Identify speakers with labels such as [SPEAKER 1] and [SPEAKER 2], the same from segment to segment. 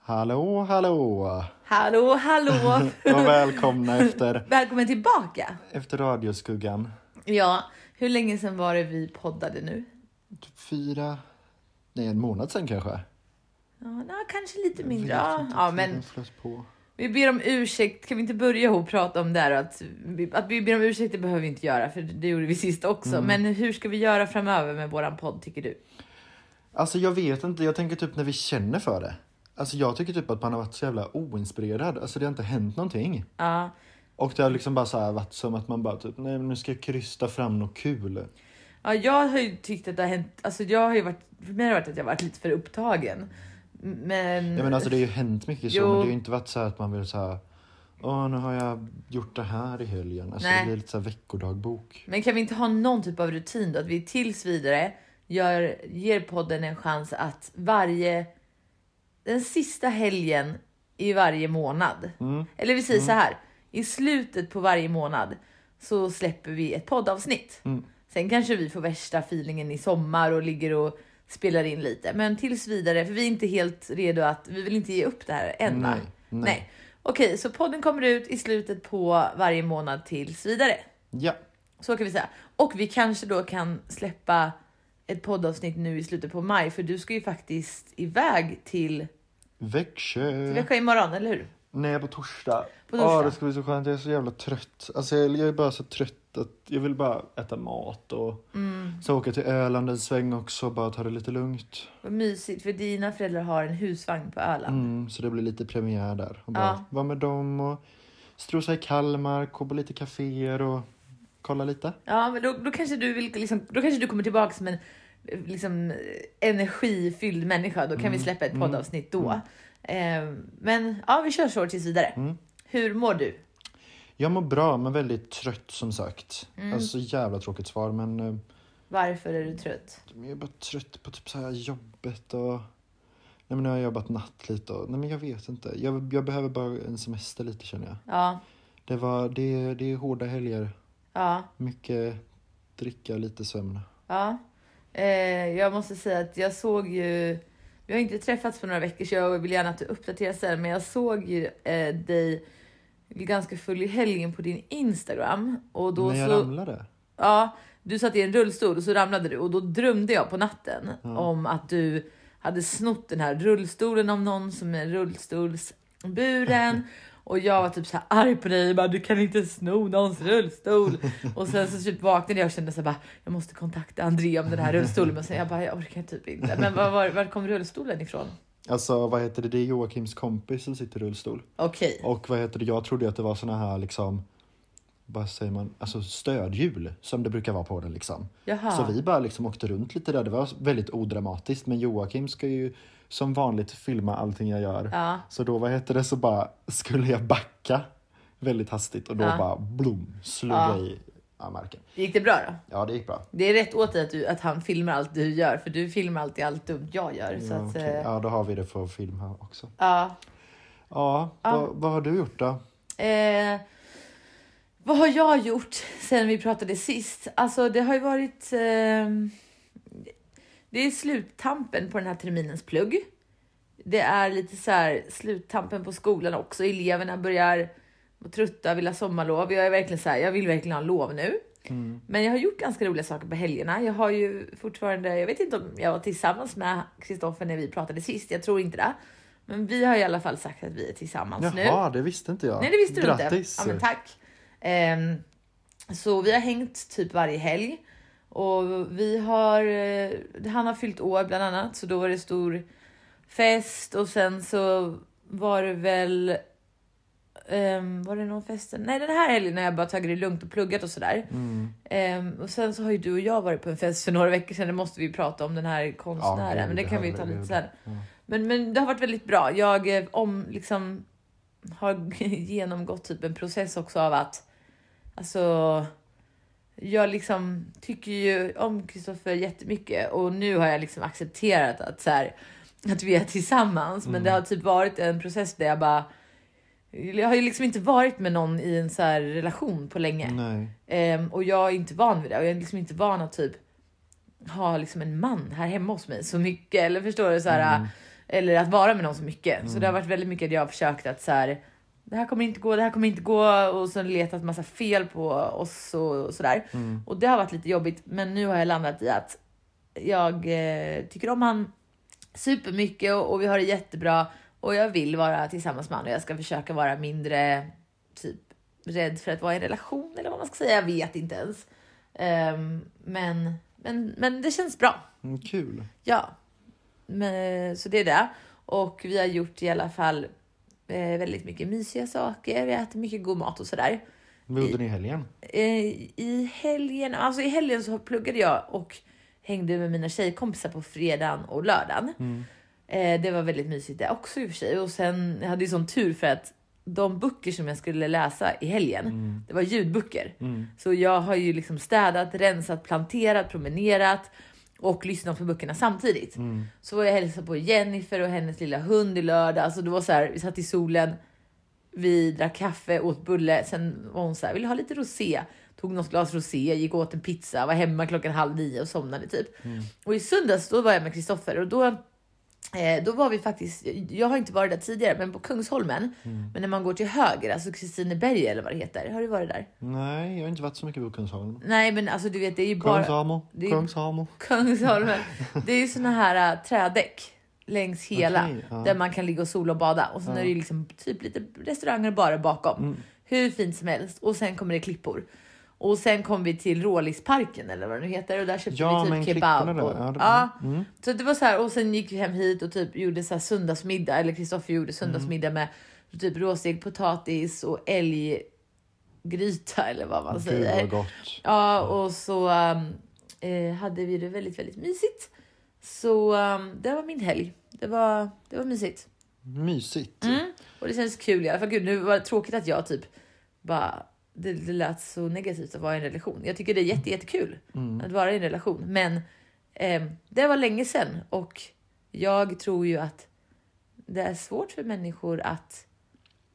[SPEAKER 1] Hallå, hallå!
[SPEAKER 2] Hallå, hallå!
[SPEAKER 1] Och välkomna efter,
[SPEAKER 2] Välkommen tillbaka!
[SPEAKER 1] efter radioskuggan.
[SPEAKER 2] Ja, hur länge sedan var det vi poddade nu?
[SPEAKER 1] Typ fyra, nej en månad sen kanske.
[SPEAKER 2] Ja, nå, kanske lite mindre.
[SPEAKER 1] Vet
[SPEAKER 2] Ja,
[SPEAKER 1] inte,
[SPEAKER 2] ja,
[SPEAKER 1] tiden
[SPEAKER 2] men
[SPEAKER 1] flöt på.
[SPEAKER 2] vi ber om ursäkt. Kan vi inte börja och prata om det här? Att vi, att vi ber om ursäkt, det behöver vi inte göra, för det gjorde vi sist också. Men hur ska vi göra framöver med våran podd, tycker du?
[SPEAKER 1] Alltså jag vet inte, jag tänker typ när vi känner för det. Alltså jag tycker typ att man har varit så jävla oinspirerad. Alltså det har inte hänt någonting.
[SPEAKER 2] Ja,
[SPEAKER 1] Och det har liksom bara så här varit som att man bara typ, nej men nu ska jag krysta fram något kul.
[SPEAKER 2] ja jag har ju tyckt att det har hänt... Alltså jag har ju varit, för mig har det varit att jag har varit lite för upptagen. Men...
[SPEAKER 1] Ja men alltså det har ju hänt mycket så,
[SPEAKER 2] Jo.
[SPEAKER 1] men det har ju inte varit så här att man vill så här, åh nu har jag gjort det här i helgen. Alltså
[SPEAKER 2] Nej.
[SPEAKER 1] det blir lite så här veckodagbok.
[SPEAKER 2] Men kan vi inte ha någon typ av rutin då? Att vi tills vidare gör, ger podden en chans att varje... Den sista helgen i varje månad.
[SPEAKER 1] Mm.
[SPEAKER 2] Eller vi säger så här. I slutet på varje månad så släpper vi ett poddavsnitt.
[SPEAKER 1] Mm.
[SPEAKER 2] Sen kanske vi får värsta feelingen i sommar och ligger och spelar in lite. Men tills vidare, för vi är inte helt redo att... Vi vill inte ge upp det här än. va?
[SPEAKER 1] Nej, nej.
[SPEAKER 2] nej. Okej, så podden kommer ut i slutet på varje månad tills vidare.
[SPEAKER 1] Ja.
[SPEAKER 2] Så kan vi säga. Och vi kanske då kan släppa ett poddavsnitt nu i slutet på maj, för du ska ju faktiskt iväg till
[SPEAKER 1] Växjö.
[SPEAKER 2] Växjö imorgon, eller hur?
[SPEAKER 1] Nej, på torsdag.
[SPEAKER 2] På torsdag.
[SPEAKER 1] Ja, det ska bli så skönt. Jag är så jävla trött. Alltså, jag jag är bara så trött att jag vill bara äta mat och
[SPEAKER 2] Mm.
[SPEAKER 1] så åka till Öland en sväng också och bara ta det lite lugnt.
[SPEAKER 2] Vad mysigt, för dina föräldrar har en husvagn på Öland.
[SPEAKER 1] Mm, så det blir lite premiär där. Och bara
[SPEAKER 2] Ja.
[SPEAKER 1] vara med dem och strosa i Kalmar, gå på lite kaféer och kolla lite.
[SPEAKER 2] Ja, men då, då kanske du vill liksom, då kanske du kommer tillbaka som en eh, liksom, eh, energifylld människa. Då kan vi släppa ett poddavsnitt då. Eh, men ja, vi kör så tills vidare. Hur mår du?
[SPEAKER 1] Jag mår bra, men väldigt trött som sagt.
[SPEAKER 2] Mm.
[SPEAKER 1] Alltså jävla tråkigt svar, men eh,
[SPEAKER 2] Varför är du trött?
[SPEAKER 1] jag är bara trött på typ så här jobbet och... Nej men nu har jag jobbat natt lite och... Nej men jag vet inte. Jag, jag behöver bara en semester lite känner jag.
[SPEAKER 2] Ja,
[SPEAKER 1] Det, var, det, det är hårda helger.
[SPEAKER 2] ja.
[SPEAKER 1] Mycket dricka, lite sömn.
[SPEAKER 2] Ja. Eh, jag måste säga att jag såg ju... Vi har inte träffats på några veckor så jag vill gärna att du uppdaterar sen. Men jag såg ju eh, dig ganska full i helgen på din Instagram. Och då
[SPEAKER 1] När jag
[SPEAKER 2] så,
[SPEAKER 1] ramlade.
[SPEAKER 2] Ja, du satt i en rullstol och så ramlade du. Och då drömde jag på natten om att du hade snott den här rullstolen av någon som är rullstolsburen. Och jag var typ så här arg på dig, bara, du kan inte sno någons rullstol. Och sen så typ vaknade jag och kände så här, bara, jag måste kontakta André om den här rullstolen. Men sen jag bara, jag orkar typ inte. Men var, var, var kom rullstolen ifrån?
[SPEAKER 1] Alltså vad heter det, det är Joakims kompis som sitter i rullstol.
[SPEAKER 2] Okej.
[SPEAKER 1] Och vad heter det, jag trodde ju att det var såna här liksom... Vad säger man? Alltså stödhjul som det brukar vara på den liksom.
[SPEAKER 2] Jaha.
[SPEAKER 1] Så vi bara liksom åkte runt lite där. Det var väldigt odramatiskt. Men Joakim ska ju som vanligt filma allting jag gör.
[SPEAKER 2] Ja.
[SPEAKER 1] Så då, vad heter det, så bara skulle jag backa väldigt hastigt och då
[SPEAKER 2] Ja.
[SPEAKER 1] bara blom slog
[SPEAKER 2] Ja.
[SPEAKER 1] jag i ja, marken.
[SPEAKER 2] Gick det bra då?
[SPEAKER 1] Ja, det gick bra.
[SPEAKER 2] Det är rätt åt dig att, du, att han filmar allt du gör, för du filmar alltid allt dumt jag gör. så
[SPEAKER 1] Ja,
[SPEAKER 2] att,
[SPEAKER 1] okej.
[SPEAKER 2] eh,
[SPEAKER 1] ja, då har vi det för film här också.
[SPEAKER 2] ja.
[SPEAKER 1] Ja, Vad, vad har du gjort då?
[SPEAKER 2] Eh, vad har jag gjort sen vi pratade sist? Alltså det har ju varit... ehm, det är sluttampen på den här terminens plugg. Det är lite så här sluttampen på skolan också. Eleverna börjar vara trötta, vill ha sommarlov. Jag är verkligen så här, jag vill verkligen ha lov nu. Men jag har gjort ganska roliga saker på helgerna. Jag har ju fortfarande, jag vet inte om jag var tillsammans med Kristoffer när vi pratade sist. Jag tror inte det. Men vi har i alla fall sagt att vi är tillsammans nu.
[SPEAKER 1] Jaha, det visste inte jag.
[SPEAKER 2] Nej, det visste du
[SPEAKER 1] Grattis.
[SPEAKER 2] inte. Ja, men tack. Ehm, så vi har hängt typ varje helg och vi har. eh, Han har fyllt år bland annat, så då var det stor fest och sen så var det väl. ehm, var det någon fest? Nej, den här helgen när jag bara tagit det lugnt och pluggat och sådär.
[SPEAKER 1] Mm.
[SPEAKER 2] Ehm, och sen så har ju du och jag varit på en fest för några veckor sedan. Det måste vi ju prata om den här konstnären,
[SPEAKER 1] gud,
[SPEAKER 2] men det kan vi ju ta
[SPEAKER 1] herregud.
[SPEAKER 2] lite sen. Men, men det har varit väldigt bra. Jag eh, om liksom har genomgått typ en process också av att alltså jag liksom tycker ju om Kristoffer jättemycket och nu har jag liksom accepterat att så här, att vi är tillsammans. Men det har typ varit en process där jag bara jag har ju liksom inte varit med någon i en så här relation på länge.
[SPEAKER 1] Mm, Nej.
[SPEAKER 2] Ehm, och jag är inte van vid det. Och jag är liksom inte van att typ ha liksom en man här hemma hos mig så mycket. Eller förstår du? Så här, Eller att vara med någon så mycket. Så det har varit väldigt mycket att jag har försökt att så här, det här kommer inte gå, det här kommer inte gå och sen letat massa fel på oss och, och sådär.
[SPEAKER 1] Mm.
[SPEAKER 2] Och det har varit lite jobbigt, men nu har jag landat i att jag eh, tycker om han supermycket och, och vi har det jättebra och jag vill vara tillsammans med honom och jag ska försöka vara mindre typ rädd för att vara i en relation eller vad man ska säga. Jag vet inte ens. Ehm, men, men, men det känns bra.
[SPEAKER 1] Mm, kul.
[SPEAKER 2] Ja, men, så det är det. Och vi har gjort i alla fall eh, väldigt mycket mysiga saker. Vi har ätit mycket god mat och sådär.
[SPEAKER 1] Vad gjorde ni i helgen?
[SPEAKER 2] Eh, I helgen, alltså i helgen så pluggade jag och hängde med mina tjejkompisar på fredagen och lördagen. Eh, det var väldigt mysigt det också i och för sig. Och sen jag hade ju sån tur för att de böcker som jag skulle läsa i helgen, det var ljudböcker. Så jag har ju liksom städat, rensat, planterat, promenerat och lyssnat på böckerna samtidigt. Så var jag och hälsade på Jennifer och hennes lilla hund i lördag. Alltså det var så här, vi satt i solen, vi drack kaffe, åt bulle. Sen var hon så här, vill du ha lite rosé? Tog något glas rosé, gick och åt en pizza, var hemma klockan halv nio och somnade typ. Och i söndags då var jag med Kristoffer och då, eh, då var vi faktiskt, jag har inte varit där tidigare, men på Kungsholmen. Men när man går till höger, alltså Kristineberg eller vad det heter. Har du varit där?
[SPEAKER 1] Nej, jag har inte varit så mycket på Kungsholmen.
[SPEAKER 2] Nej, men alltså du vet, det är ju bara...
[SPEAKER 1] Kungsholmen,
[SPEAKER 2] det är- typ
[SPEAKER 1] Kungsholmen.
[SPEAKER 2] Kungsholmen. Det är ju såna här äh, trädäck längs hela
[SPEAKER 1] Okej, ja.
[SPEAKER 2] där man kan ligga och sola och bada. Och sen är det ju liksom typ lite restauranger och barer bakom.
[SPEAKER 1] Mm.
[SPEAKER 2] Hur fint som helst. Och sen kommer det klippor. Och sen kom vi till Rålisparken eller vad det nu heter och där köpte
[SPEAKER 1] Ja,
[SPEAKER 2] vi
[SPEAKER 1] men
[SPEAKER 2] typ kebab.
[SPEAKER 1] klipporna
[SPEAKER 2] Och,
[SPEAKER 1] där, ja, det- Mm.
[SPEAKER 2] ja. Så det var så här och sen gick vi hem hit och typ gjorde så här söndagsmiddag eller Kristoffer gjorde söndagsmiddag
[SPEAKER 1] Mm.
[SPEAKER 2] med typ råstekt potatis och älggryta eller vad man
[SPEAKER 1] Gud
[SPEAKER 2] säger.
[SPEAKER 1] vad gott.
[SPEAKER 2] Ja, och så um, eh, hade vi det väldigt, väldigt mysigt. Så um, det var min helg. Det var, det var mysigt.
[SPEAKER 1] Mysigt.
[SPEAKER 2] Mm. Och det känns kul i alla fall. Gud, nu var det tråkigt att jag typ bara... Det, det lät så negativt att vara i en relation. Jag tycker det är jätte, jättekul att vara i en relation. Men ehm, det var länge sedan och jag tror ju att det är svårt för människor att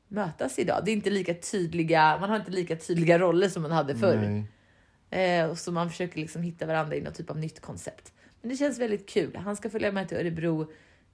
[SPEAKER 2] mötas idag. Det är inte lika tydliga, man har inte lika tydliga roller som man hade förr.
[SPEAKER 1] Nej.
[SPEAKER 2] Eh, och så man försöker liksom hitta varandra i något typ av nytt koncept. Men det känns väldigt kul. Han ska följa med till Örebro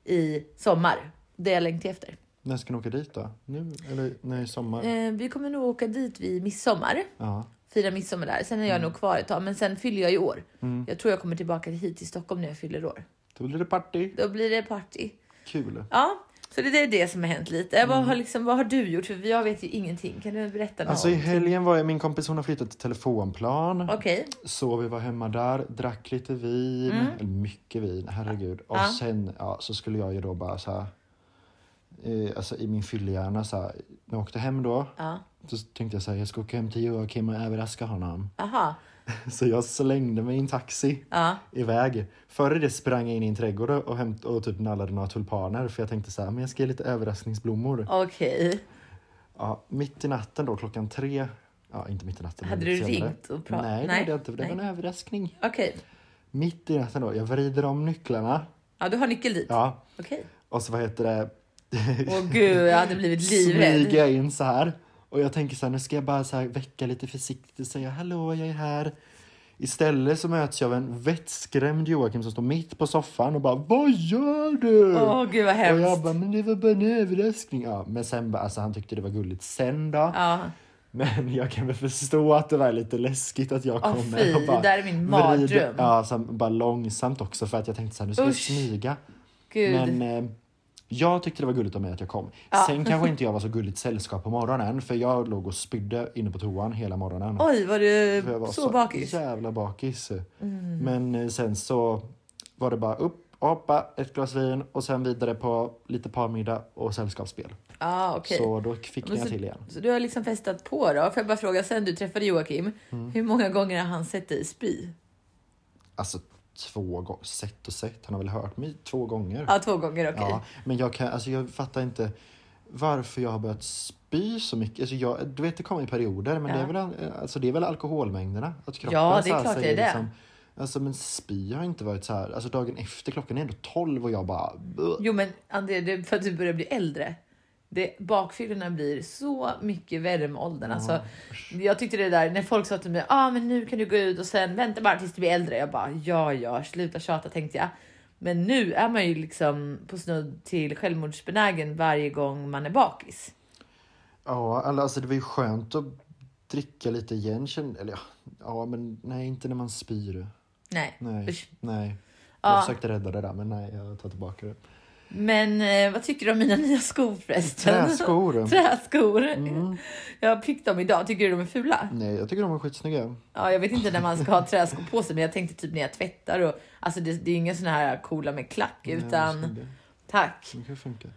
[SPEAKER 2] i sommar. Det jag längtar efter.
[SPEAKER 1] När ska ni åka dit då? Nu? Eller nej, sommar?
[SPEAKER 2] Eh, vi kommer nog åka dit vid midsommar.
[SPEAKER 1] Ja.
[SPEAKER 2] Fira midsommar där. Sen är
[SPEAKER 1] Mm.
[SPEAKER 2] jag nog kvar ett tag. Men sen fyller jag ju år. Jag tror jag kommer tillbaka hit till Stockholm när jag fyller år.
[SPEAKER 1] Då blir det party.
[SPEAKER 2] Då blir det party.
[SPEAKER 1] Kul.
[SPEAKER 2] Ja, så det det är det som har hänt lite. Vad, har liksom, vad har du gjort? För jag vet ju ingenting. Kan du berätta något?
[SPEAKER 1] Mm. Alltså i helgen var jag, min kompis hon har flyttat till telefonplan.
[SPEAKER 2] Okej.
[SPEAKER 1] Så vi var hemma där, drack lite vin, eller mycket vin, herregud. Och
[SPEAKER 2] Mm. Ja.
[SPEAKER 1] sen ja, så skulle jag ju då bara så här, eh, alltså i min fyllehjärna så här, när jag åkte hem då,
[SPEAKER 2] Ja.
[SPEAKER 1] så tänkte jag så här, jag ska åka hem till Joakim och överraska honom.
[SPEAKER 2] Aha.
[SPEAKER 1] Så jag slängde mig i en taxi
[SPEAKER 2] Ja.
[SPEAKER 1] iväg. Före det sprang jag in i en trädgård och, hämt, och typ nallade några tulpaner för jag tänkte så här, men jag ska ge lite överraskningsblommor.
[SPEAKER 2] Okej.
[SPEAKER 1] Ja, mitt i natten då, klockan tre. Ja, inte mitt i natten. men
[SPEAKER 2] Hade du
[SPEAKER 1] lite senare.
[SPEAKER 2] ringt och pratat?
[SPEAKER 1] Nej, det
[SPEAKER 2] Nej.
[SPEAKER 1] hade jag inte. för Det var en överraskning.
[SPEAKER 2] Okej.
[SPEAKER 1] Mitt i natten då, jag vrider om nycklarna.
[SPEAKER 2] Ja, du har nyckel dit?
[SPEAKER 1] Ja,
[SPEAKER 2] Okej.
[SPEAKER 1] och så vad heter det?
[SPEAKER 2] Åh gud, jag hade blivit
[SPEAKER 1] Smyger
[SPEAKER 2] livrädd.
[SPEAKER 1] jag in så här. Och jag tänker så här, nu ska jag bara så här väcka lite försiktigt och säga hallå, jag är här. Istället så möts jag av en vettskrämd Joakim som står mitt på soffan och bara Vad gör du?
[SPEAKER 2] Åh gud vad
[SPEAKER 1] och
[SPEAKER 2] hemskt.
[SPEAKER 1] jag bara, men det var bara en överraskning. Ja, men sen bara, alltså han tyckte det var gulligt sen då.
[SPEAKER 2] Ja.
[SPEAKER 1] Men jag kan väl förstå att det var lite läskigt att jag
[SPEAKER 2] Åh,
[SPEAKER 1] kom
[SPEAKER 2] fy,
[SPEAKER 1] med och bara...
[SPEAKER 2] det där är min mardröm.
[SPEAKER 1] ja, så bara långsamt också för att jag tänkte så här, nu ska
[SPEAKER 2] Usch.
[SPEAKER 1] jag smyga.
[SPEAKER 2] Gud.
[SPEAKER 1] Men eh, jag tyckte det var gulligt av mig att jag kom.
[SPEAKER 2] Ja.
[SPEAKER 1] Sen kanske inte jag var så gulligt sällskap på morgonen för jag låg och spydde inne på toan hela morgonen.
[SPEAKER 2] Oj, var du
[SPEAKER 1] För jag var
[SPEAKER 2] så, bakis? Mm.
[SPEAKER 1] jävla bakis. Men eh, sen så var det bara upp, hoppa, ett glas vin och sen vidare på lite parmiddag och sällskapsspel.
[SPEAKER 2] Ja, okej.
[SPEAKER 1] Så då fick
[SPEAKER 2] Men
[SPEAKER 1] jag
[SPEAKER 2] så-
[SPEAKER 1] till igen.
[SPEAKER 2] Så du har liksom festat på då? Får jag bara fråga, sen du träffade Joakim,
[SPEAKER 1] Mm.
[SPEAKER 2] hur många gånger har han sett dig spy?
[SPEAKER 1] Alltså två gånger, sett och sett. Han har väl hört mig två gånger.
[SPEAKER 2] Ja, två gånger, Ah, okej.
[SPEAKER 1] Ja, men jag, kan, alltså jag fattar inte varför jag har börjat spy så mycket. Alltså jag, du vet, det kommer i perioder, men
[SPEAKER 2] Ja.
[SPEAKER 1] det, är väl, alltså det är väl alkoholmängderna? Att kroppen
[SPEAKER 2] Ja, det är
[SPEAKER 1] så här
[SPEAKER 2] klart det
[SPEAKER 1] säger
[SPEAKER 2] är det.
[SPEAKER 1] alltså, men spy har inte varit så här. Alltså dagen efter, klockan är ändå 12 och jag bara... "Ugh."
[SPEAKER 2] Jo, men André, det är för att du börjar bli äldre. Det, bakfyllorna blir så mycket värre med åldern. Alltså, jag tyckte det där när folk sa till mig, ah, men nu kan du gå ut och sen vänta bara tills du blir äldre. Jag bara, ja, ja, sluta tjata tänkte jag. Men nu är man ju liksom på snudd till självmordsbenägen varje gång man är bakis.
[SPEAKER 1] Ja, alla- alltså det var ju skönt att dricka lite igen. kände- Eller ja, ja men nej, inte när man spyr.
[SPEAKER 2] Nej.
[SPEAKER 1] Nej,
[SPEAKER 2] Usch.
[SPEAKER 1] nej. Jag
[SPEAKER 2] Ja.
[SPEAKER 1] försökte rädda det där, men nej, jag tar tillbaka det.
[SPEAKER 2] Men eh, vad tycker du om mina nya skor förresten?
[SPEAKER 1] Träskor.
[SPEAKER 2] Träskor.
[SPEAKER 1] Mm.
[SPEAKER 2] Jag fick dem idag. Tycker du de är fula?
[SPEAKER 1] Nej, jag tycker de är skitsnygga. Mm,
[SPEAKER 2] Ja, jag vet inte när man ska ha träskor på sig, men jag tänkte typ när jag tvättar och alltså det, det är ju inga såna här coola med klack utan
[SPEAKER 1] Nej, de är snygga.
[SPEAKER 2] tack.
[SPEAKER 1] de kan funka.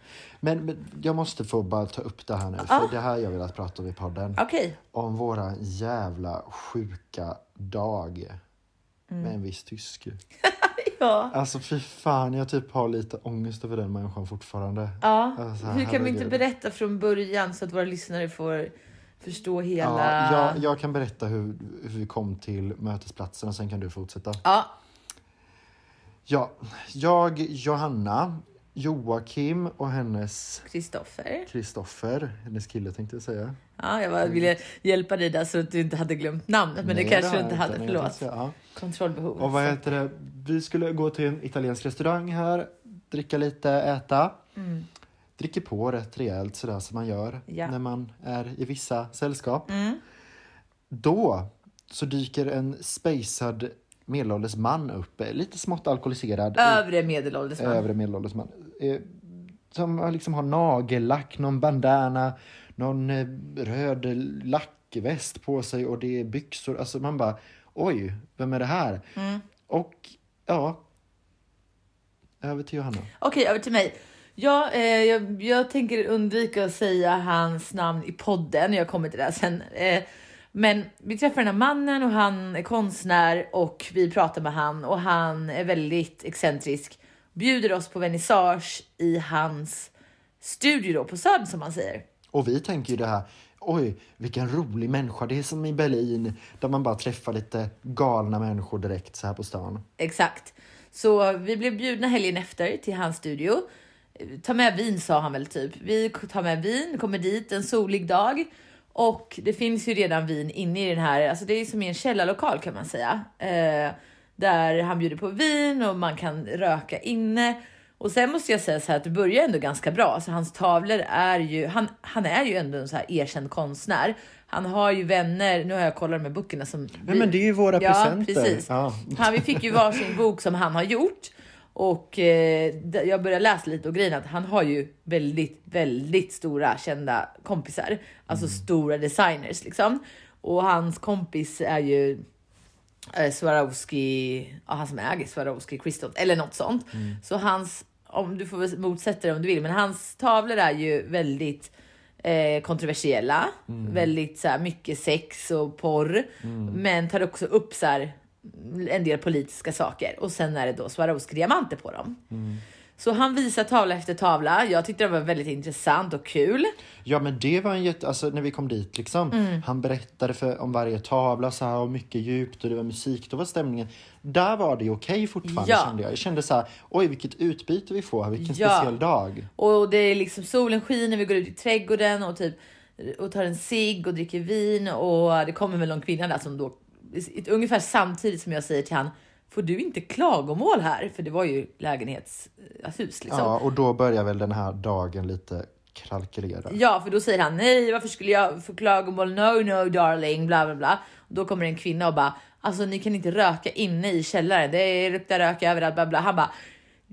[SPEAKER 1] Men, men jag måste få bara ta upp det här nu, för
[SPEAKER 2] Ja.
[SPEAKER 1] det här jag vill att prata om i podden.
[SPEAKER 2] Okej,
[SPEAKER 1] Om våra jävla sjuka dag
[SPEAKER 2] Mm.
[SPEAKER 1] med en viss tysk.
[SPEAKER 2] ja.
[SPEAKER 1] Alltså fy fan, jag typ har lite ångest över den människan fortfarande.
[SPEAKER 2] ja.
[SPEAKER 1] Alltså,
[SPEAKER 2] Hur kan vi inte
[SPEAKER 1] herregud.
[SPEAKER 2] berätta från början så att våra lyssnare får förstå hela...
[SPEAKER 1] Ja, jag, jag kan berätta hur, hur vi kom till mötesplatsen och sen kan du fortsätta.
[SPEAKER 2] Ja,
[SPEAKER 1] Ja, jag, Johanna, Joakim och hennes
[SPEAKER 2] Kristoffer.
[SPEAKER 1] Kristoffer, hennes kille tänkte jag säga.
[SPEAKER 2] Ja, jag bara ville hjälpa dig där så att du inte hade glömt namnet, men
[SPEAKER 1] Nej
[SPEAKER 2] det kanske
[SPEAKER 1] då,
[SPEAKER 2] du inte hade.
[SPEAKER 1] utan jag
[SPEAKER 2] Förlåt.
[SPEAKER 1] tänkte- ja.
[SPEAKER 2] Kontrollbehov.
[SPEAKER 1] Och vad heter det? Vi skulle gå till en italiensk restaurang här, dricka lite, äta.
[SPEAKER 2] Mm.
[SPEAKER 1] Dricker på rätt rejält sådär som man gör
[SPEAKER 2] Ja.
[SPEAKER 1] när man är i vissa sällskap.
[SPEAKER 2] Mm.
[SPEAKER 1] Då så dyker en spejsad medelålders man upp, eh, lite smått alkoholiserad.
[SPEAKER 2] Övre medelålders man.
[SPEAKER 1] övre medelålders man. Eh, Som har liksom har nagellack, någon bandana, någon eh, röd lackväst på sig och det är byxor. Alltså man bara, oj, vem är det här?
[SPEAKER 2] Mm.
[SPEAKER 1] Och ja, över till Johanna.
[SPEAKER 2] Okej, över till mig. Ja, eh, jag, jag tänker undvika att säga hans namn i podden. Jag kommer till det här sen. Eh, men vi träffar den här mannen och han är konstnär och vi pratar med han och han är väldigt excentrisk. Bjuder oss på vernissage i hans studio då på Söder som man säger.
[SPEAKER 1] Och vi tänker ju det här, oj, vilken rolig människa. Det är som i Berlin där man bara träffar lite galna människor direkt så här på stan.
[SPEAKER 2] Exakt. Så vi blev bjudna helgen efter till hans studio. Ta med vin sa han väl typ. Vi tar med vin, kommer dit en solig dag. Och det finns ju redan vin inne i den här, alltså det är som i en källarlokal kan man säga. Eh, där han bjuder på vin och man kan röka inne. Och sen måste jag säga så här att det börjar ändå ganska bra. Alltså hans tavlor är ju, han, han är ju ändå en så här erkänd konstnär. Han har ju vänner, nu har jag kollat med böckerna som...
[SPEAKER 1] Nej men det är ju våra
[SPEAKER 2] Ja,
[SPEAKER 1] presenter.
[SPEAKER 2] precis.
[SPEAKER 1] Ja.
[SPEAKER 2] Han, vi fick ju varsin bok som han har gjort. Och eh, d- jag började läsa lite och grejen är att han har ju väldigt, väldigt stora kända kompisar. Alltså stora designers liksom. Och hans kompis är ju eh, Swarovski, ja, han som äger Swarovski Crystal eller något sånt. Så hans, om du får väl motsätta dig om du vill, men hans tavlor är ju väldigt eh, kontroversiella, väldigt så här, mycket sex och porr, men tar också upp så här, en del politiska saker och sen är det då Swarovski diamanter på dem. Så han visar tavla efter tavla. Jag tyckte det var väldigt intressant och kul.
[SPEAKER 1] Ja men det var en jätte, alltså när vi kom dit liksom.
[SPEAKER 2] Mm.
[SPEAKER 1] Han berättade för, om varje tavla så här och mycket djupt och det var musik, då var stämningen. Där var det ju okej fortfarande
[SPEAKER 2] Ja.
[SPEAKER 1] kände jag. Jag kände så här, oj vilket utbyte vi får här, vilken
[SPEAKER 2] Ja.
[SPEAKER 1] speciell dag.
[SPEAKER 2] Och det är liksom solen skiner, vi går ut i trädgården och typ och tar en cigg och dricker vin och det kommer väl någon kvinna där som då ungefär samtidigt som jag säger till han får du inte klagomål här? För det var ju lägenhetshus liksom.
[SPEAKER 1] Ja, och då börjar väl den här dagen lite kalkylera.
[SPEAKER 2] Ja, för då säger han nej, varför skulle jag få klagomål? No, no darling, bla bla bla. Och då kommer en kvinna och bara alltså, ni kan inte röka inne i källaren. Det luktar rök överallt, bla bla. Han bara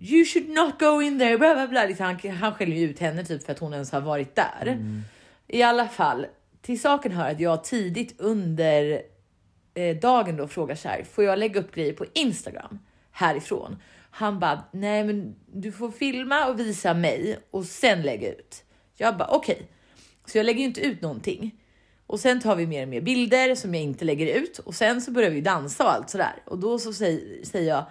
[SPEAKER 2] you should not go in there, bla bla bla. Liksom, han, han skäller ju ut henne typ för att hon ens har varit där. I alla fall, till saken hör att jag tidigt under eh, dagen då frågar så här, får jag lägga upp grejer på Instagram härifrån? Han bara, nej men du får filma och visa mig och sen lägga ut. Jag bara okej, så jag lägger ju inte ut någonting. Och sen tar vi mer och mer bilder som jag inte lägger ut och sen så börjar vi dansa och allt sådär. Och då så säger, säger jag,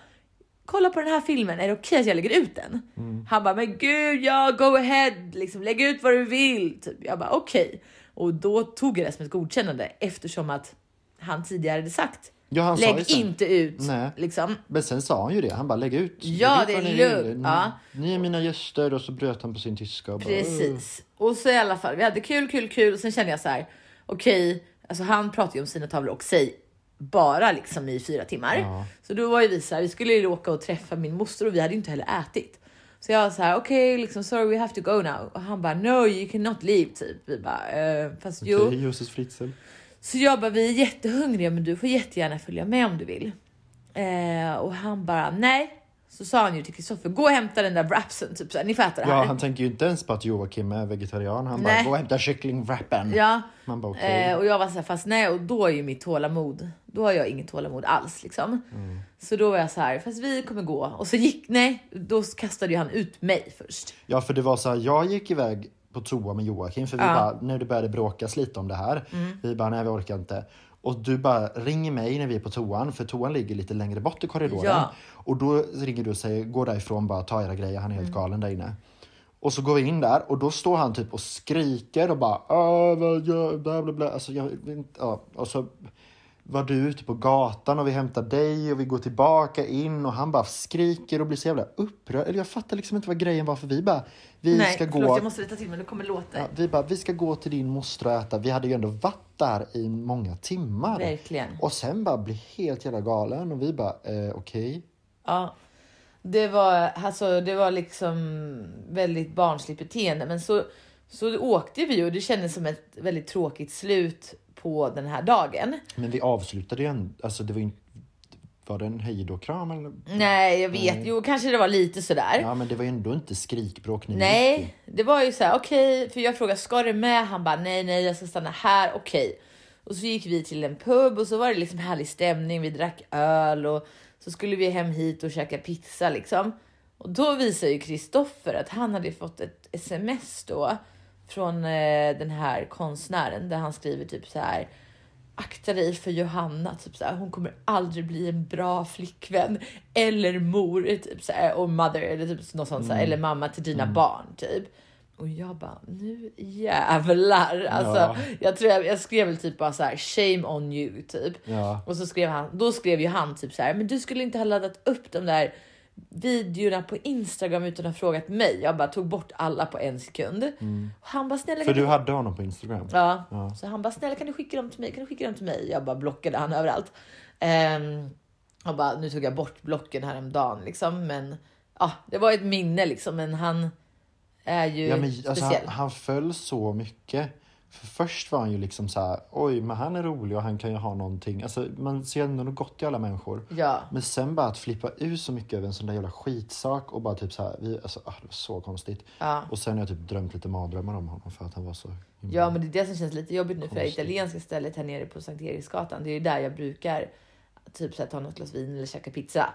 [SPEAKER 2] kolla på den här filmen, är det okej att jag lägger ut den?
[SPEAKER 1] Mm.
[SPEAKER 2] Han bara, men gud ja, go ahead, liksom, lägg ut vad du vill. Typ. Jag bara okej. Och då tog jag det som ett godkännande eftersom att han tidigare hade sagt
[SPEAKER 1] Ja, han sa ju
[SPEAKER 2] lägg
[SPEAKER 1] sen,
[SPEAKER 2] inte ut.
[SPEAKER 1] Nej.
[SPEAKER 2] Liksom.
[SPEAKER 1] Men sen sa han ju det, han bara lägg ut.
[SPEAKER 2] Ja,
[SPEAKER 1] Lägg ut
[SPEAKER 2] det är
[SPEAKER 1] vad ni vill. Ni,
[SPEAKER 2] lugnt, ja.
[SPEAKER 1] ni är mina gäster och så bröt han på sin tyska och bara, "Åh."
[SPEAKER 2] Precis. Och så i alla fall, vi hade kul, kul, kul och sen kände jag så här, okej, alltså han pratar ju om sina tavlor och sig bara liksom i fyra timmar.
[SPEAKER 1] Ja.
[SPEAKER 2] Så då var ju vi så här, vi skulle ju åka och träffa min moster och vi hade ju inte heller ätit. Så jag var så här, okej, liksom sorry we have to go now. Och han bara, no you cannot leave typ. Vi bara, eh, fast
[SPEAKER 1] Okej,
[SPEAKER 2] jo.
[SPEAKER 1] Josef Fritzl.
[SPEAKER 2] Så jag bara, vi är jättehungriga men du får jättegärna följa med om du vill. Eh, och han bara, nej. Så sa han ju till Kristoffer, gå och hämta den där wrapsen, typ så här, ni får äta det här.
[SPEAKER 1] Ja, han tänker ju inte ens på att Joakim är vegetarian. Han
[SPEAKER 2] Nej.
[SPEAKER 1] bara, gå och hämta kycklingwrappen.
[SPEAKER 2] Ja.
[SPEAKER 1] Man bara, okej.
[SPEAKER 2] Eh, och jag var så här, fast nej, och då är ju mitt tålamod, då har jag inget tålamod alls liksom.
[SPEAKER 1] Mm.
[SPEAKER 2] Så då var jag så här, fast vi kommer gå. Och så gick, nej, då kastade ju han ut mig först.
[SPEAKER 1] Ja, för det var så här, jag gick iväg på toa med Joakim för vi bara, när det började bråkas lite om det här, vi bara, nej vi orkar inte. Och du bara, ring mig när vi är på toan, för toan ligger lite längre bort i korridoren.
[SPEAKER 2] Ja.
[SPEAKER 1] Och då ringer du och säger, gå därifrån bara, ta era grejer, han är
[SPEAKER 2] Mm.
[SPEAKER 1] helt galen där inne. Och så går vi in där och då står han typ och skriker och bara, "Äh, vad gör- bla bla bla. Alltså, jag, vet inte- ja. Och så var du ute på gatan och vi hämtar dig och vi går tillbaka in och han bara skriker och blir så jävla upprörd. Eller jag fattar liksom inte vad grejen var för vi bara, vi
[SPEAKER 2] nej,
[SPEAKER 1] ska gå.
[SPEAKER 2] förlåt, jag måste rätta till mig, nu kommer låten.
[SPEAKER 1] Ja, vi bara, vi ska gå till din moster och äta. Vi hade ju ändå varit där i många timmar.
[SPEAKER 2] Verkligen.
[SPEAKER 1] Och sen bara bli helt jävla galen och vi bara, eh, okej.
[SPEAKER 2] Ja. Det var, alltså, det var liksom väldigt barnsligt beteende. Men så, så åkte vi och det kändes som ett väldigt tråkigt slut på den här dagen.
[SPEAKER 1] Men vi avslutade ju en, alltså det var ju inte, var det en hejdå-kram eller?
[SPEAKER 2] Nej, jag
[SPEAKER 1] Mm.
[SPEAKER 2] vet. Jo, kanske det var lite sådär.
[SPEAKER 1] Ja men det var ju ändå inte skrikbråk ni gick i.
[SPEAKER 2] Nej, det var ju så här okej, för jag frågade ska du med? Han bara nej, nej, jag ska stanna här. Okej, och så gick vi till en pub och så var det liksom härlig stämning. Vi drack öl och så skulle vi hem hit och käka pizza liksom. Och då visade ju Kristoffer att han hade fått ett sms då från eh, den här konstnären där han skriver typ så här akta dig för Johanna, typ så här, hon kommer aldrig bli en bra flickvän eller mor typ så här, och mother eller typ något sånt så här, eller mamma till dina barn typ. Och jag bara nu jävlar alltså.
[SPEAKER 1] Ja.
[SPEAKER 2] Jag tror jag, jag skrev väl typ bara så här shame on you typ.
[SPEAKER 1] Ja.
[SPEAKER 2] Och så skrev han, då skrev ju han typ så här, men du skulle inte ha laddat upp de där videorna på Instagram utan att ha frågat mig. Jag bara tog bort alla på en sekund. Och han bara snälla
[SPEAKER 1] Mm. För
[SPEAKER 2] kan
[SPEAKER 1] du hade honom på Instagram?
[SPEAKER 2] Ja.
[SPEAKER 1] Ja.
[SPEAKER 2] Så han bara, snälla kan du skicka dem till mig? Kan du skicka dem till mig? Jag bara blockade han överallt. Ehm, och bara, nu tog jag bort blocken häromdagen liksom. Men ja, det var ett minne liksom. Men han är ju
[SPEAKER 1] Ja, men, alltså, han,
[SPEAKER 2] speciell.
[SPEAKER 1] han föll så mycket. För först var han ju liksom så här, oj men han är rolig och han kan ju ha någonting. Alltså, man ser ändå något gott i alla människor.
[SPEAKER 2] Ja.
[SPEAKER 1] Men sen bara att flippa ut så mycket över en sån där jävla skitsak och bara typ så här, vi, alltså, ah, det var så konstigt.
[SPEAKER 2] Ja.
[SPEAKER 1] Och sen har jag typ drömt lite mardrömmar om honom för att han var så himla...
[SPEAKER 2] Ja, men det är det som känns lite jobbigt nu för det italienska stället här nere på Sankt Eriksgatan. Det är ju där jag brukar typ så här, ta något glas vin eller käka pizza.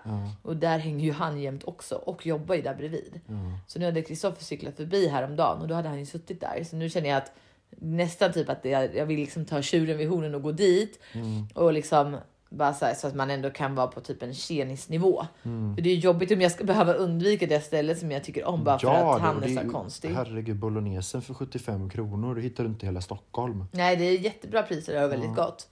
[SPEAKER 2] Och där hänger ju han jämt också och jobbar ju där bredvid. Så nu hade Kristoffer cyklat förbi häromdagen och då hade han ju suttit där. Så nu känner jag att nästan typ att det är, jag vill liksom ta tjuren vid hornen och gå dit
[SPEAKER 1] Mm,
[SPEAKER 2] och liksom bara så, här, så att man ändå kan vara på typ en tjenisnivå.
[SPEAKER 1] mm.
[SPEAKER 2] För det är ju jobbigt om jag ska behöva undvika det stället som jag tycker om bara för
[SPEAKER 1] Ja,
[SPEAKER 2] att
[SPEAKER 1] det-
[SPEAKER 2] han
[SPEAKER 1] det
[SPEAKER 2] är så här
[SPEAKER 1] ju-
[SPEAKER 2] konstig.
[SPEAKER 1] Herregud, bolognesen för 75 kronor, det hittar du inte i hela Stockholm.
[SPEAKER 2] Nej, det är jättebra priser och väldigt gott.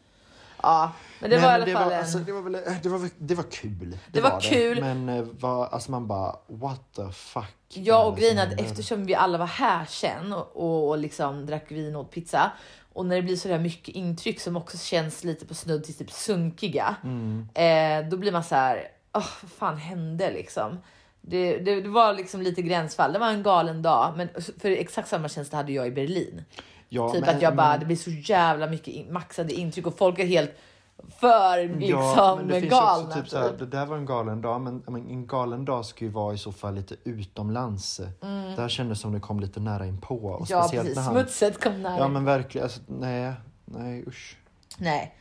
[SPEAKER 2] Ja, men det var i alla
[SPEAKER 1] det
[SPEAKER 2] fall
[SPEAKER 1] var,
[SPEAKER 2] en...
[SPEAKER 1] alltså, det, var väl, det, var, det var kul. Det,
[SPEAKER 2] Det var kul.
[SPEAKER 1] Men eh, vad- alltså man bara, what the fuck.
[SPEAKER 2] Ja,
[SPEAKER 1] är
[SPEAKER 2] och
[SPEAKER 1] det
[SPEAKER 2] grejen
[SPEAKER 1] som
[SPEAKER 2] är att
[SPEAKER 1] händer?
[SPEAKER 2] eftersom vi alla var här sen och, och, och liksom drack vin och åt pizza och när det blir så där mycket intryck som också känns lite på snudd till typ sunkiga,
[SPEAKER 1] Mm.
[SPEAKER 2] eh, då blir man så här, "Åh, vad fan hände liksom? Det, det, det var liksom lite gränsfall. Det var en galen dag, men för exakt samma känsla hade jag i Berlin.
[SPEAKER 1] Ja,
[SPEAKER 2] typ
[SPEAKER 1] men-
[SPEAKER 2] att jag bara,
[SPEAKER 1] men-
[SPEAKER 2] det blir så jävla mycket in, maxade intryck och folk är helt för
[SPEAKER 1] ja,
[SPEAKER 2] liksom
[SPEAKER 1] men det finns ju
[SPEAKER 2] galna.
[SPEAKER 1] också typ så här, det där var en galen dag, men, men en galen dag ska ju vara i så fall lite utomlands. Det här kändes som det kom lite nära inpå. Och
[SPEAKER 2] Mm. Ja
[SPEAKER 1] speciellt
[SPEAKER 2] precis,
[SPEAKER 1] när han,
[SPEAKER 2] smutset kom nära.
[SPEAKER 1] Ja men verkligen, alltså, nej, nej usch.
[SPEAKER 2] Nej.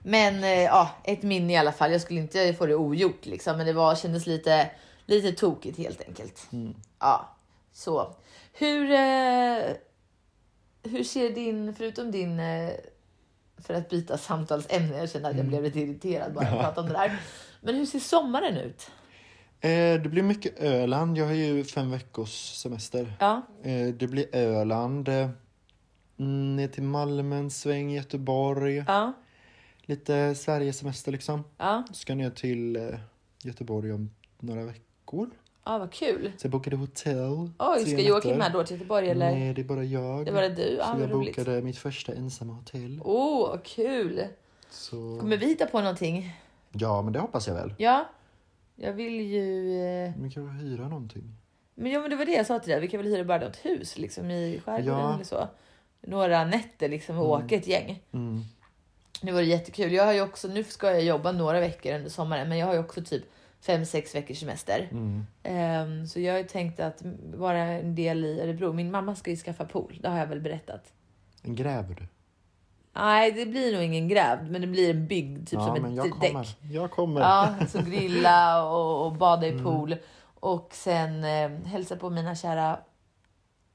[SPEAKER 2] Men eh, ja, ett minne i alla fall. Jag skulle inte få det ogjort liksom, men det var, kändes lite, lite tokigt helt enkelt.
[SPEAKER 1] Mm.
[SPEAKER 2] Ja, så. Hur, eh, hur ser din, förutom din, eh, för att byta samtalsämne, jag känner att
[SPEAKER 1] Mm.
[SPEAKER 2] jag blev lite irriterad bara att prata om det där. Men hur ser sommaren ut?
[SPEAKER 1] Eh, det blir mycket Öland, jag har ju fem veckors semester.
[SPEAKER 2] Ja,
[SPEAKER 1] Eh, det blir Öland, eh, mm, ner till Malmö en sväng, Göteborg.
[SPEAKER 2] ja,
[SPEAKER 1] Lite Sverigesemester liksom.
[SPEAKER 2] ja,
[SPEAKER 1] Ska ner till eh, Göteborg om några veckor.
[SPEAKER 2] ja vad kul.
[SPEAKER 1] Så jag bokade hotell.
[SPEAKER 2] Oj,
[SPEAKER 1] tre
[SPEAKER 2] ska Joakim
[SPEAKER 1] nätter.
[SPEAKER 2] med då till Göteborg eller?
[SPEAKER 1] Nej, det är bara jag.
[SPEAKER 2] Det var det du. Ja,
[SPEAKER 1] så
[SPEAKER 2] vad
[SPEAKER 1] jag
[SPEAKER 2] roligt.
[SPEAKER 1] bokade mitt första ensamma hotell.
[SPEAKER 2] Åh, vad kul.
[SPEAKER 1] Så...
[SPEAKER 2] Kommer vi hitta på någonting?
[SPEAKER 1] Ja, men det hoppas jag väl.
[SPEAKER 2] Ja. Jag vill ju... eh,
[SPEAKER 1] Vi kan väl hyra någonting.
[SPEAKER 2] Men, ja, men det var det jag sa till dig. Vi kan väl hyra bara något hus liksom, i skärgården
[SPEAKER 1] Ja.
[SPEAKER 2] eller så. Några nätter liksom, och åka ett gäng.
[SPEAKER 1] Mm.
[SPEAKER 2] Det vore jättekul. Jag har ju också, nu ska jag jobba några veckor under sommaren, men jag har ju också typ fem sex veckors semester.
[SPEAKER 1] Mm.
[SPEAKER 2] Ehm, så jag har ju tänkt att vara en del i Örebro. Min mamma ska ju skaffa pool, det har jag väl berättat.
[SPEAKER 1] En gräver
[SPEAKER 2] Typ
[SPEAKER 1] du?
[SPEAKER 2] Nej, det blir nog ingen grävd, men det blir en byggd, typ som
[SPEAKER 1] men
[SPEAKER 2] ett
[SPEAKER 1] jag
[SPEAKER 2] däck.
[SPEAKER 1] kommer. Jag kommer.
[SPEAKER 2] Ja, så grilla och, och bada i
[SPEAKER 1] Mm.
[SPEAKER 2] pool. Och sen eh, hälsa på mina kära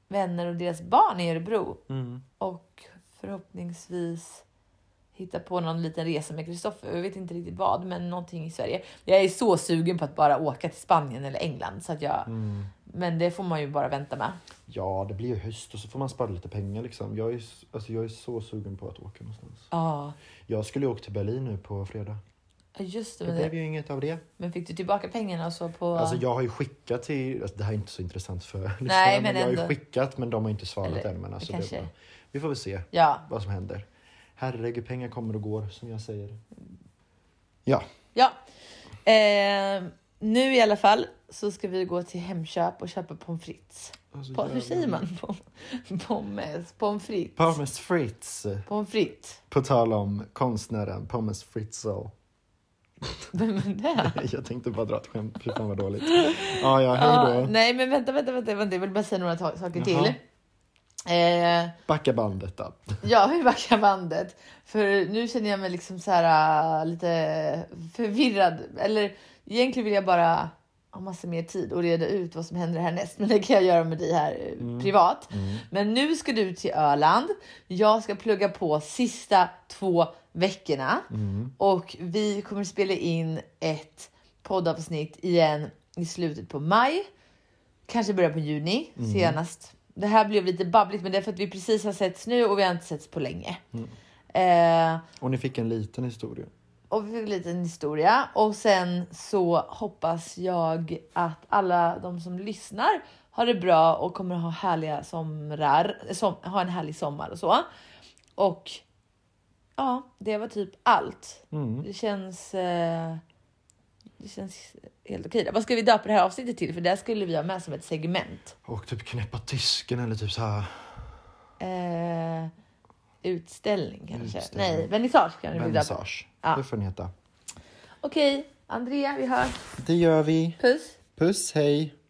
[SPEAKER 2] vänner och deras barn i Örebro.
[SPEAKER 1] Mm.
[SPEAKER 2] Och förhoppningsvis hitta på någon liten resa med Kristoffer. Jag vet inte riktigt vad, men någonting i Sverige. Jag är så sugen på att bara åka till Spanien eller England. Så att jag,
[SPEAKER 1] Mm.
[SPEAKER 2] Men det får man ju bara vänta med.
[SPEAKER 1] Ja, det blir ju höst och så får man spara lite pengar liksom. Jag är, s- alltså, jag är så sugen på att åka någonstans.
[SPEAKER 2] Ja,
[SPEAKER 1] Jag skulle ju åka till Berlin nu på fredag.
[SPEAKER 2] Ja, just det.
[SPEAKER 1] Det
[SPEAKER 2] Men,
[SPEAKER 1] blev
[SPEAKER 2] det.
[SPEAKER 1] ju inget av det.
[SPEAKER 2] men fick du tillbaka pengarna och så på...
[SPEAKER 1] Alltså jag har ju skickat till... Alltså, det här är inte så intressant för lyssnarna,
[SPEAKER 2] Nej, men
[SPEAKER 1] jag har ju
[SPEAKER 2] ändå.
[SPEAKER 1] skickat men de har inte svarat
[SPEAKER 2] Eller,
[SPEAKER 1] än. Men alltså, det
[SPEAKER 2] kanske.
[SPEAKER 1] är bara, vi får väl se
[SPEAKER 2] Ja,
[SPEAKER 1] vad som händer. Herregud, pengar kommer och går som jag säger. Ja,
[SPEAKER 2] Ja. Eh, nu i alla fall så ska vi gå till Hemköp och köpa pommes frites.
[SPEAKER 1] alltså,
[SPEAKER 2] Pa- Hur
[SPEAKER 1] jävlar.
[SPEAKER 2] säger man? Pom- Pommes, pommes frites.
[SPEAKER 1] Pommes Fritz.
[SPEAKER 2] Pommes frites.
[SPEAKER 1] På tal om konstnären Pommes Fritzl.
[SPEAKER 2] Vem är det?
[SPEAKER 1] Jag tänkte bara dra ett skämt, fy fan vad dåligt. Ja, ja,
[SPEAKER 2] Ah,
[SPEAKER 1] hej då.
[SPEAKER 2] nej, men vänta, vänta, vänta, vänta. Jag vill bara säga några ta- saker
[SPEAKER 1] Jaha.
[SPEAKER 2] till. Eh,
[SPEAKER 1] Backa bandet då.
[SPEAKER 2] ja, vi backar bandet. För nu känner jag mig liksom så här äh, lite förvirrad. Eller egentligen vill jag bara ha massa mer tid och reda ut vad som händer härnäst. Men det kan jag göra med dig här eh,
[SPEAKER 1] Mm.
[SPEAKER 2] privat. Men nu ska du till Öland. Jag ska plugga på sista två veckorna och vi kommer spela in ett poddavsnitt igen i slutet på maj. Kanske början på juni senast. Det här blev lite babbligt, men det är för att vi precis har setts nu och vi har inte setts på länge. Eh,
[SPEAKER 1] Och ni fick en liten historia.
[SPEAKER 2] och vi fick en liten historia och sen så hoppas jag att alla de som lyssnar har det bra och kommer ha härliga somrar, som, ha en härlig sommar och så. Och ja, det var typ allt.
[SPEAKER 1] Mm.
[SPEAKER 2] Det känns. Eh, det känns helt okej. Vad ska vi döpa det här avsnittet till? För det här skulle vi ha med som ett segment.
[SPEAKER 1] Och typ knäppa tysken eller typ så här.
[SPEAKER 2] Eh, utställning kanske?
[SPEAKER 1] Utställning.
[SPEAKER 2] Nej, vernissage kan vi döpa.
[SPEAKER 1] Vernissage.
[SPEAKER 2] Ja.
[SPEAKER 1] Det får ni heta.
[SPEAKER 2] Okej, Andrea, vi hörs.
[SPEAKER 1] Det gör vi.
[SPEAKER 2] Puss.
[SPEAKER 1] Puss, hej.